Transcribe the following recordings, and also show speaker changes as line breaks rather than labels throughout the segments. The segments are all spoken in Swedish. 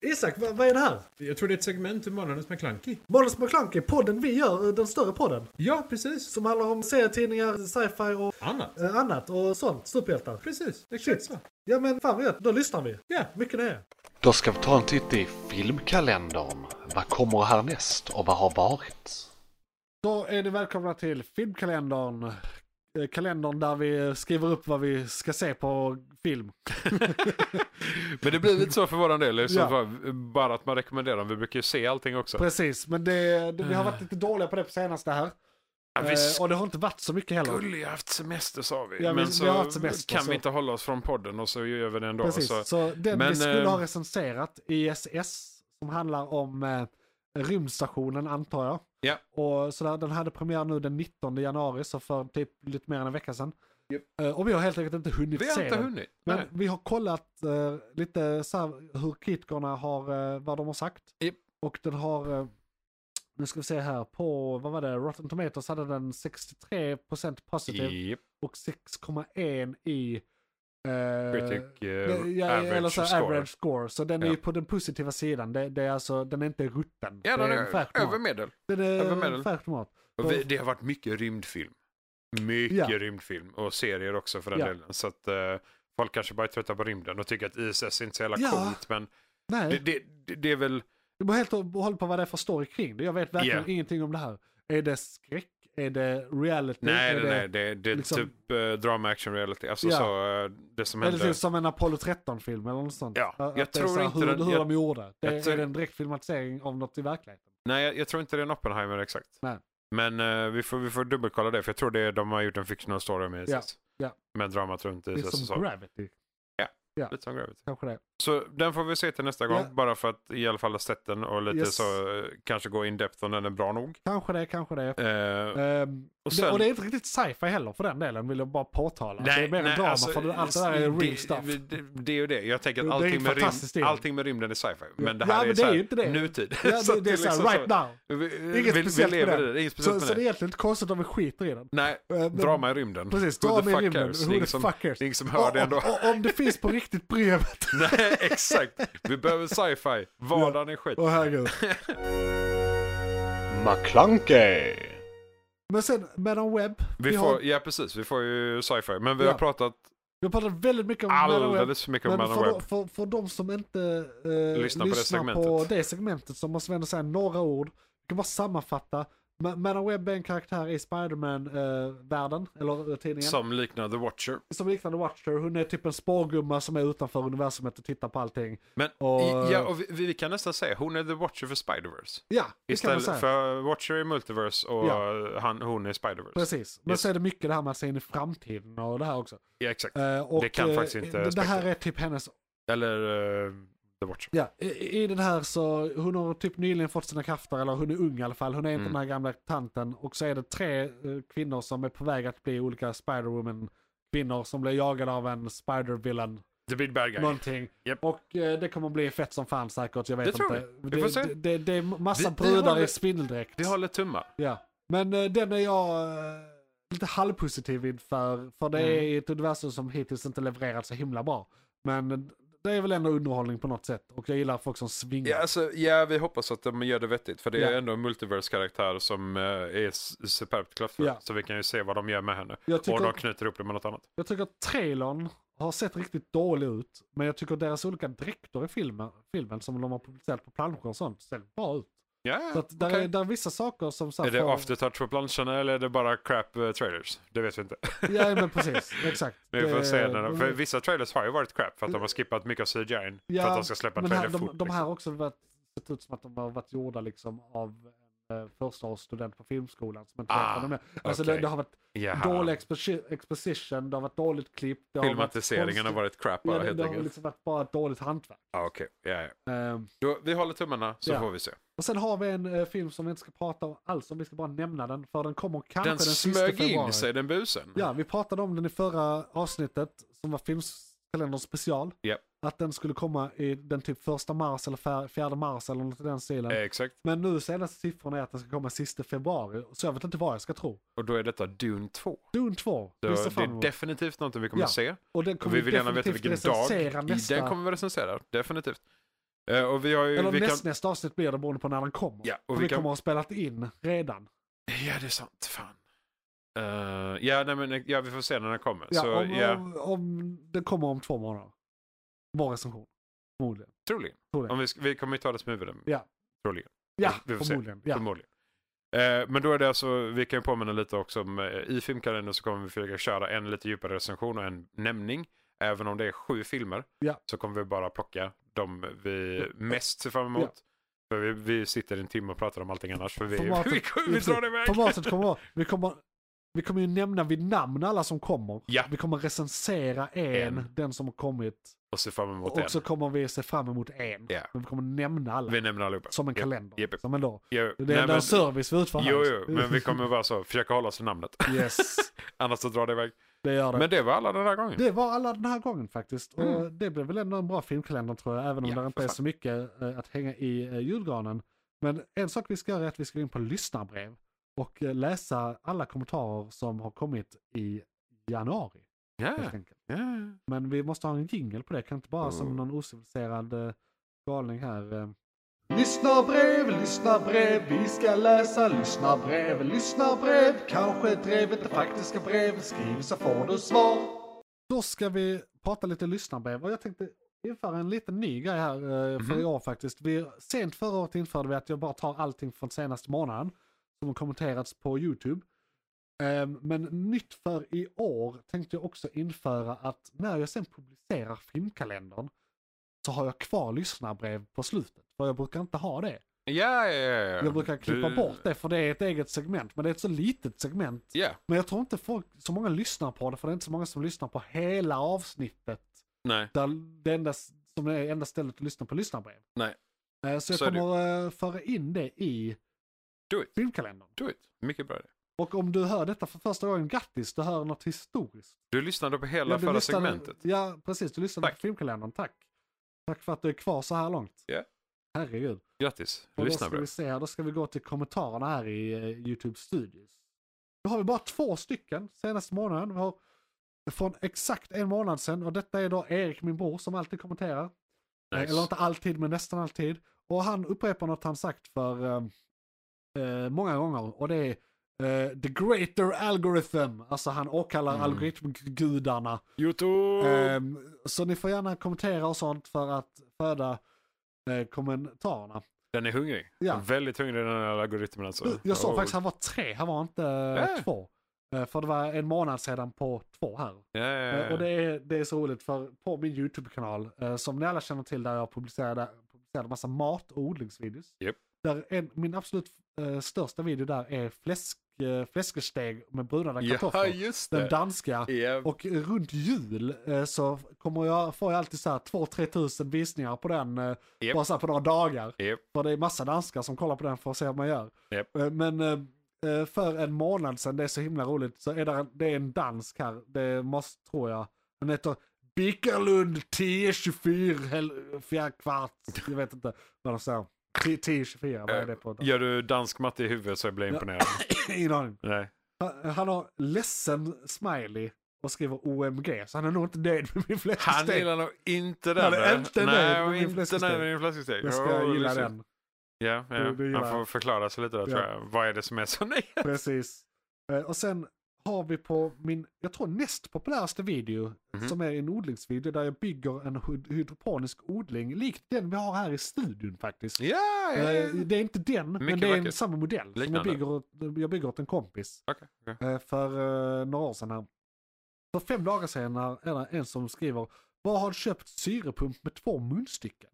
Isak, vad, vad är det här?
Jag tror det är ett segment ur Månadens McKlunky.
Månadens McKlunky, podden vi gör, eh, den större podden.
Ja, precis.
Som handlar om serietidningar, sci-fi och
Annat.
eh, annat och sånt. Superhjältar.
Precis, exakt så.
Ja men fan vad gött, då lyssnar vi.
Ja.
Mycket nöje.
Då ska vi ta en titt i filmkalendern. Vad kommer härnäst och vad har varit?
Då är ni välkomna till filmkalendern. Eh, Kalendern där vi skriver upp vad vi ska se på film.
Men det blir lite så för våran del. liksom
Ja. Eh,
för- Bara att man rekommenderar dem. Vi brukar ju se allting också.
Precis, men det, det, vi har varit lite dåliga på det på senaste här.
Ja, vi
Eh, och det har inte varit så mycket heller.
skulle ju haft semester sa vi.
Ja, vi-
men
vi
så
har haft semester,
kan
så-
vi inte hålla oss från podden och så gör vi det ändå.
Precis,
Så,
så, den vi
men,
skulle
eh,
ha recenserat, ISS, som handlar om eh, rymdstationen antar jag.
Ja.
Och sådär, den hade premiär nu den 19 januari, så för typ lite mer än en vecka sedan. Eh, och vi har helt enkelt inte hunnit
vi har
se
inte
den.
hunnit.
Men
Nej.
vi har kollat eh, lite så här, hur kritikerna har, eh, vad de har sagt.
Japp.
Och den har, eh, nu ska vi se här, på, vad var det, Rotten Tomatoes hade den 63% positiv
Japp.
och 6,1 i eh,
Critic, eh,
ja,
average
eller så här
score.
average score. Så den är
Ja.
ju på den positiva sidan. Det, det är alltså, den är inte rutten.
Ja,
det
den
är en
är
fair
över
tomat.
medel.
Den är
över
en
medel.
fair tomat.
Och vi, det har varit mycket rymdfilm. Mycket
Ja.
rymdfilm och serier också för den
Ja.
delen. Så att eh, folk kanske bara är trötta på rymden och tycker att ISS är inte så jävla
Ja. Eh.
coolt. Men
Nej,
det,
det,
det, det, det är väl...
beror helt och hållet på vad det är för story kring det. Jag vet verkligen
Ja.
ingenting om det här. Är det skräck? Är det reality?
Nej,
är
nej,
det,
nej. Det, det är
liksom-
typ eh, drama, action, reality. Alltså
Ja.
så, eh, det som
Är det
händer.
typ som en Apollo 13-film eller något sånt?
Ja,
Att
jag
det är så
tror
här,
inte
hur,
den-
hur
jag-
de gjorde. Det,
jag tror-
Är det en direkt filmatisering av något i verkligheten?
Nej, jag, jag tror inte det är en Oppenheimer exakt.
Nej.
Men eh, vi, får, vi får dubbelkolla det, för jag tror det är, de har gjort en fictional story med ISS.
Ja, ja.
Med dramat runt
Det är
ISS och
som
så.
Gravity,
Lite som Gravity.
kanske det.
Så den får vi se till nästa gång,
Ja.
bara för att i alla fall ha sett den och lite
Yes.
så eh, kanske gå in depth om den är bra nog.
Kanske det, kanske det.
Eh,
Ehm,
Och
det-
sen-
och det är inte riktigt sci-fi heller för den delen, vill jag bara påtala. det är mer en drama
alltså,
för det- allt det där är real
det,
stuff.
Det, det, det är ju det. Jag tänker
Det
att
är ju
allting, med,
fantastiskt
rymd,
det.
allting med rymden är sci-fi. Men det
Ja,
här
men
är,
det är
så här,
ju inte det.
nutid.
ja,
Så
det,
att
det är såhär,
liksom
right now.
så- Vi,
Inget
vi, vi
speciellt med
lever i
det.
det. det är Inget
Så,
speciellt
så det
med
är
det.
egentligen inte konstigt om vi skiter i den.
Nej,
Eh, men-
drama i rymden.
Precis,
Who the
drama i
fuck
rymden.
cares?
Who
Det är
the
ingen som-
fuck cares?
Det är ingen som hör det
och,
ändå.
och, och, om det finns på riktigt brevet.
Nej, exakt. Vi behöver sci-fi. Vardagen är skit.
Åh herregud.
McClunkey!
Men sen, Madam Webb.
Vi
har,
får, ja, precis. Vi får ju sci-fi. Men vi
Ja.
har pratat
vi har pratat väldigt mycket om Madam Webb.
alldeles för mycket om
Men
Man
för,
of
de,
Web.
för, för de som inte eh,
Lyssna på det
lyssnar på,
segmentet.
det segmentet så måste vi ändå säga några ord. Vi kan bara sammanfatta. Ma- Madam Webb är en karaktär i Spiderman-världen, eller eh, tidningen, som.
Som liknar The Watcher.
liknar The Watcher. Hon är typ en spårgumma som är utanför universumet och tittar på allting.
Men
Och-
i, ja, och vi, vi kan nästan säga hon är The Watcher för Spider-Verse.
Ja, det kan man säga.
Istället för Watcher är Multiverse och
Ja.
han, hon är Spider-Verse.
Precis, men
Yes.
så är det mycket det här med att se in i framtiden och det här också.
Ja, exakt.
Eh, och,
Det kan
eh,
faktiskt inte
Det, det här
Spectre.
är typ hennes
Eller eh, The Watcher.
Ja, i, i den här så, hon har typ nyligen fått sina krafter, eller hon är ung i alla fall, hon är inte
Mm.
den här gamla tanten. Och så är det tre eh, kvinnor som är på väg att bli olika Spider-Woman-kvinnor som blir jagade av en Spider-Villain,
The Big Bad Guy.
någonting.
Japp.
Och eh, det kommer bli fett som fan säkert, jag vet
Det tror
inte.
vi. Vi får se.
det, det, det är massa
Vi- vi
brudar
håller-
i spindeldräkt.
Vi håller tummar.
Ja. Men eh, den är jag eh, lite halvpositiv inför, för
Mm.
det är ett universum som hittills inte levererat så himla bra. Men eh, det är väl ändå underhållning på något sätt, och jag gillar folk som svingar.
Ja, alltså, ja, vi hoppas att de gör det vettigt. För det är
Ja.
ändå en multiverse-karaktär som eh, är s- superbt kraftfull.
Ja.
Så vi kan ju se vad de gör med henne.
Jag tycker-
Och de knyter upp det med något annat.
Jag tycker att trailern har sett riktigt dålig ut. Men jag tycker deras olika dräkter i filmen, filmen som de har publicerat på planscher och sånt, ser bra ut.
Ja,
Så att där,
okej.
är, där är vissa saker som... Så här
Är det
får-
aftertouch på planscherna eller är det bara crap eh, trailers? Det vet vi inte.
Ja men precis, exakt.
Men vi får
Det-
se. När de, för vissa trailers har ju varit crap för att de har skippat mycket av CGI
Ja,
för att de ska släppa en
men här,
trailer
de,
fort.
de här
liksom.
har också varit, sett ut som att de har varit gjorda liksom av en eh, förstaårsstudent på filmskolan som inte vet
Ah,
vad de är. Alltså
okej.
det, det har varit
liksom. Jaha.
dålig exposi- exposition, det har varit dåligt klipp, det har varit
Filmatiseringen har
konstigt-
varit crap bara
ja, det,
helt
det har
enkelt.
liksom varit bara ett dåligt hantverk.
Ah, okej. ja, ja.
Ehm,
Då, vi håller tummarna så
Ja.
får vi se.
Och sen har vi en eh, film som vi inte ska prata om alls om, vi ska bara nämna den för den kommer kanske den,
Den
den sista
smög
februari.
in sig den busen.
Ja, vi pratade om den i förra avsnittet som var filmkalendern special.
Japp.
Att den skulle komma i den typ första mars eller fjär- fjärde mars eller något i den stilen.
Eh, Exakt.
Men nu senaste siffrorna är att den ska komma sista februari, så jag vet inte vad jag ska tro.
Och då är detta Dune 2.
Dune 2,
Så
vi ser
det
fram
är
emot.
definitivt någonting vi kommer
Ja.
att se.
Och den
Och vi vill gärna veta
definitivt
vilken dag.
recensera
I
nästa-
Den kommer vi recensera, definitivt. Eh, och vi har ju...
Eller
vi kan...
näst, nästa avsnitt blir det beroende på när den kommer.
Ja, och
För
vi
vi
kan-
kommer att ha spelat in redan.
Ja, det är sant. Fan. Eh, ja, nej, men, ja, vi får se när den kommer.
Ja,
så,
om,
ja,
om, om det kommer om två månader. Vår recension. Förmodligen.
troligen.
Troligen.
Om vi, sk- vi kommer ju ta det som huvuden.
Ja.
Troligen.
Ja,
Vi får se.
förmodligen. Ja.
Förmodligen. Eh, men då är det alltså, vi kan ju påminna lite också om, eh, i filmkalendern så kommer vi försöka köra en lite djupare recension och en nämning. Även om det är sju filmer
Ja.
så kommer vi bara plocka de vi mest ser fram emot. För vi, vi sitter en timme och pratar om allting annars. För vi,
Formatet-
vi, vi drar iväg.
Formatet kommer vara, vi kommer, vi kommer ju nämna vid namn alla som kommer.
Ja.
Vi kommer recensera en,
En.
den som har kommit.
Och ser fram emot
och
en.
så kommer vi se fram emot en.
Ja.
Men vi kommer nämna alla.
Vi nämner allihopa.
Som en
Ja.
kalender.
Japp.
Som en dag.
Ja,
Det är
nej,
den
men-
service vi utför här.
Jo, jo, men vi kommer bara så, försöka hålla oss till namnet.
Yes,
Annars så drar det iväg.
det gör det.
Men det var alla den här gången.
Det var alla den här gången faktiskt. Och det blev väl ändå en bra filmkalender tror jag, även om
Mm. Ja,
det inte är
för fan.
så mycket eh, att hänga i eh, julgranen. Men en sak vi ska göra är att vi ska gå in på lyssnarbrev och eh, läsa alla kommentarer som har kommit i januari.
Ja,
Helt enkelt.
ja.
Men vi måste ha en jingle på det, kan inte bara som
Mm.
någon ociviliserad eh, galning här. Eh. Lyssnarbrev, lyssnarbrev, vi ska läsa lyssnarbrev, lyssnarbrev. Kanske drevet det faktiska brevet, skriv så får du svar. Då ska vi prata lite lyssnarbrev och jag tänkte införa en liten ny grej här eh, för
Mhm.
i år faktiskt. Vi, sent förra året införde vi att jag bara tar allting från senaste månaden som har kommenterats på YouTube. Ehm, Men nytt för i år tänkte jag också införa att när jag sen publicerar filmkalendern så har jag kvar lyssnarbrev på slutet. För jag brukar inte ha det.
ja, ja, ja.
Jag brukar klippa
Du-
bort det för det är ett eget segment. Men det är ett så litet segment.
Ja,
Men jag tror inte folk, så många lyssnar på det för det är inte så många som lyssnar på hela avsnittet.
nej.
Där det enda, som är enda stället att lyssna på lyssnarbrev.
Nej.
Eh, Så jag
Så är det ju.
kommer eh, föra in det i
Do it.
filmkalendern.
Do it. Mycket bra det.
Och om du hör detta för första gången, grattis, du hör något historiskt.
Du lyssnade på hela
Ja, du
förra
lyssnade-
segmentet.
Ja, precis. Du lyssnade
Tack.
på filmkalendern. Tack. Tack för att du är kvar så här långt.
Ja.
Herregud.
Grattis.
Och då
Lyssna
ska
bra.
vi se här, då ska vi gå till kommentarerna här i eh, YouTube Studios. Då har vi bara två stycken senaste månaden. Vi har från exakt en månad sedan och detta är då Erik, min bror, som alltid kommenterar. Eh, Eller
Nice.
inte alltid, men nästan alltid. Och han upprepar något han sagt för eh, eh, många gånger. Och det är eh, the greater algorithm. Alltså han åkallar
Mm.
algoritmgudarna.
Youtube!
Ehm, så ni får gärna kommentera och sånt för att föda eh, kommentarerna.
den är hungrig.
ja.
Den är Väldigt hungrig den här algoritmen alltså.
Jag såg
Oh.
faktiskt att han var tre, han var inte
Äh.
två. Eh, för det var en månad sedan på två här.
Ja, ja,
Eh,
ja.
och det är, det är så roligt för på min YouTube-kanal, eh, som ni alla känner till där jag publicerade, publicerade massa mat och odlingsvideos.
Japp.
Där en, min absolut eh, största video där är fläsk, eh, fläskesteg med brunade
Ja,
kartoffler.
just
Den
det.
danska.
Ja.
Och runt jul eh, så kommer jag, får jag alltid så här 2-3 tusen visningar på den. eh,
Japp.
Bara så här på några dagar.
Japp.
För det är massa danskar som kollar på den för att se hur man gör.
Japp.
Eh, Men eh, eh, för en månad sedan, det är så himla roligt, så är det, en- det är en dansk här, det måste, tror jag. Den heter Bickalund 1024 hel- fjär kvart. Jag vet inte vad de säger. 1024, vad är det på?
Gör du dansk matte i huvudet så blir jag
Ja.
imponerad.
Ingen aning.
Nej.
Han- Han har ledsen smiley och skriver OMG, så han är nog inte nöjd med min
Han
fläskesteg.
gillar nog inte den.
Han är
eller?
inte nöjd
Nej,
med
och
min
inte
fläskesteg.
nöjd med din fläskesteg.
Jag ska
Oh,
gilla
liksom.
den.
Ja, ja.
Du- du gillar
han får
den.
förklara sig lite där tror
Ja.
jag. Vad är det som är så nej?
Precis. Eh, Och sen har vi på min, jag tror näst populäraste video,
Mhm.
som är en odlingsvideo där jag bygger en hyd- hydroponisk odling, likt den vi har här i studion faktiskt.
Ja, ja, ja.
Eh, Det är inte den, men
Mycket
det är en,
vackert.
samma modell. Som jag,
Liknande.
bygger åt, jag bygger åt en kompis.
Okej, okej.
eh, för eh, några år sedan. Här. För fem dagar sedan är det en som skriver, vad har du köpt syrepump med två munstycken?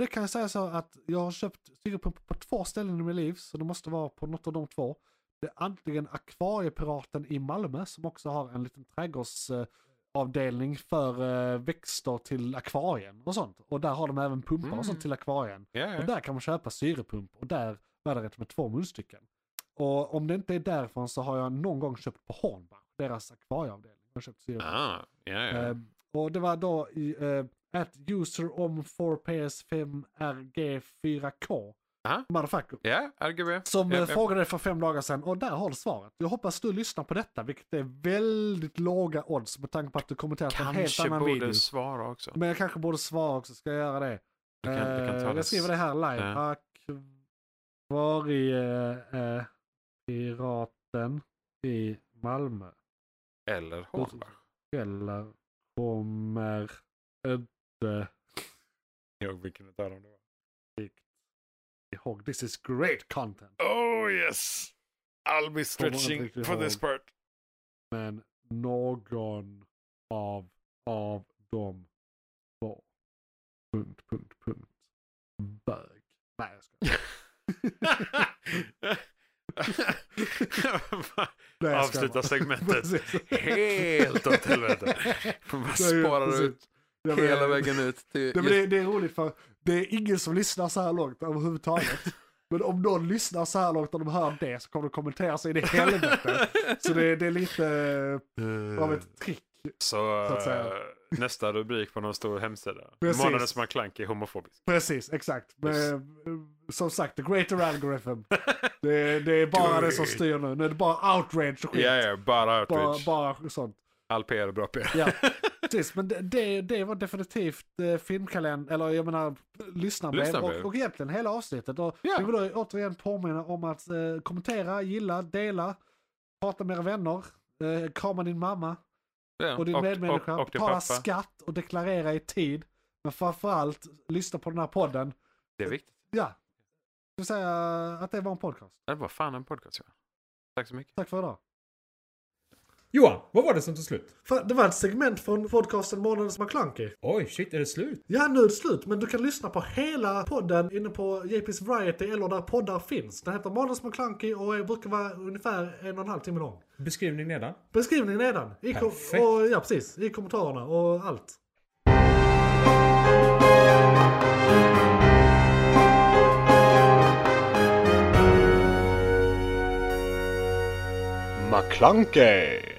Det kan jag säga så att jag har köpt syrepump på två ställen i mitt liv, så det måste vara på något av de två. Det är antingen Akvariepiraten i Malmö som också har en liten trädgårdsavdelning för eh, växter till akvarien och sånt. Och där har de även pumpar och sånt
Mm.
till akvarien.
Ja,
Och
ja.
där kan man köpa syrepump och där var det rätt med två munstycken. Och om det inte är därifrån så har jag någon gång köpt på Hornbach, deras akvarieavdelning. Jag har köpt syrepump.
Ah, ja, ja.
Eh, och det var då i eh, at user om 4PS5RG4K.
Aha.
Motherfucker.
Ja, RGB.
Som
Ah. Ja,
eh,
ja.
frågade dig för fem dagar sedan och där har du svaret. Jag hoppas du lyssnar på detta, vilket är väldigt låga odds med tanke på att du kommenterat en helt
Kanske
annan
borde
video.
svara också.
Men jag kanske borde svara också, ska jag göra det?
Det kan, det kan
Eh,
ta
jag skriver det här live.
Ja.
Akvariepiraten eh, i Malmö.
Eller Hornbach.
Eller kommer inte
Jag vilken utav dem det var.
riktigt ihåg. This is great content.
Oh yes! I'll be
stretching riktigt for this
part.
Men någon av, av dem var... Punkt, punkt, punkt. Bög. Nej, jag skojar. Nej, jag skojar
Avsluta
bara.
segmentet
Precis.
helt åt helvete. Man
Det är ju
sparar
precis.
ut
Ja, men-
hela vägen ut till...
Ja, men det, det är roligt för det är ingen som lyssnar så här långt överhuvudtaget. Men om någon lyssnar så här långt och de hör det så kommer de kommentera sig in i helvete. Så det, det är lite eh, av ett trick.
Så,
så att säga.
eh, nästa rubrik på någon stor hemsida.
Precis.
Månadens McKlunky är homofobisk.
Precis, exakt. Men,
Yes.
eh, som sagt, the greater algorithm. Det, det är bara det som
Great.
styr nu. Nu är det bara outrage och
Ja,
skit.
ja, bara
Bara,
outreach.
bara sånt.
All PR är bra PR.
Ja, precis. Men det, det, det var definitivt eh, filmkalendern, eller jag menar lyssnarbrev
Lyssnarbrev.
och, och egentligen hela avsnittet. Och
Ja.
Vi vill då återigen påminna om att eh, kommentera, gilla, dela, prata med era vänner, eh, krama din mamma
Ja,
och din medmänniska,
och, och din
betala
pappa.
skatt och deklarera i tid. Men framförallt, lyssna på den här podden.
Det är viktigt.
Ja, jag vill säga att det var en podcast.
Det var fan en podcast. Ja. Tack så mycket.
Tack för idag.
Johan, vad var det som tog slut?
Fan, Det var ett segment från podcasten Månadens McKlunky.
Oj, shit, är det slut?
Ja, nu är det slut, men du kan lyssna på hela podden inne på JP's Variety eller där poddar finns. Den heter Månads McKlunky och är- brukar vara ungefär en och en halv timme lång.
Beskrivning nedan.
Beskrivningen nedan. I kom-
Perfekt.
och, ja, precis. I kommentarerna och allt.
McClunkey!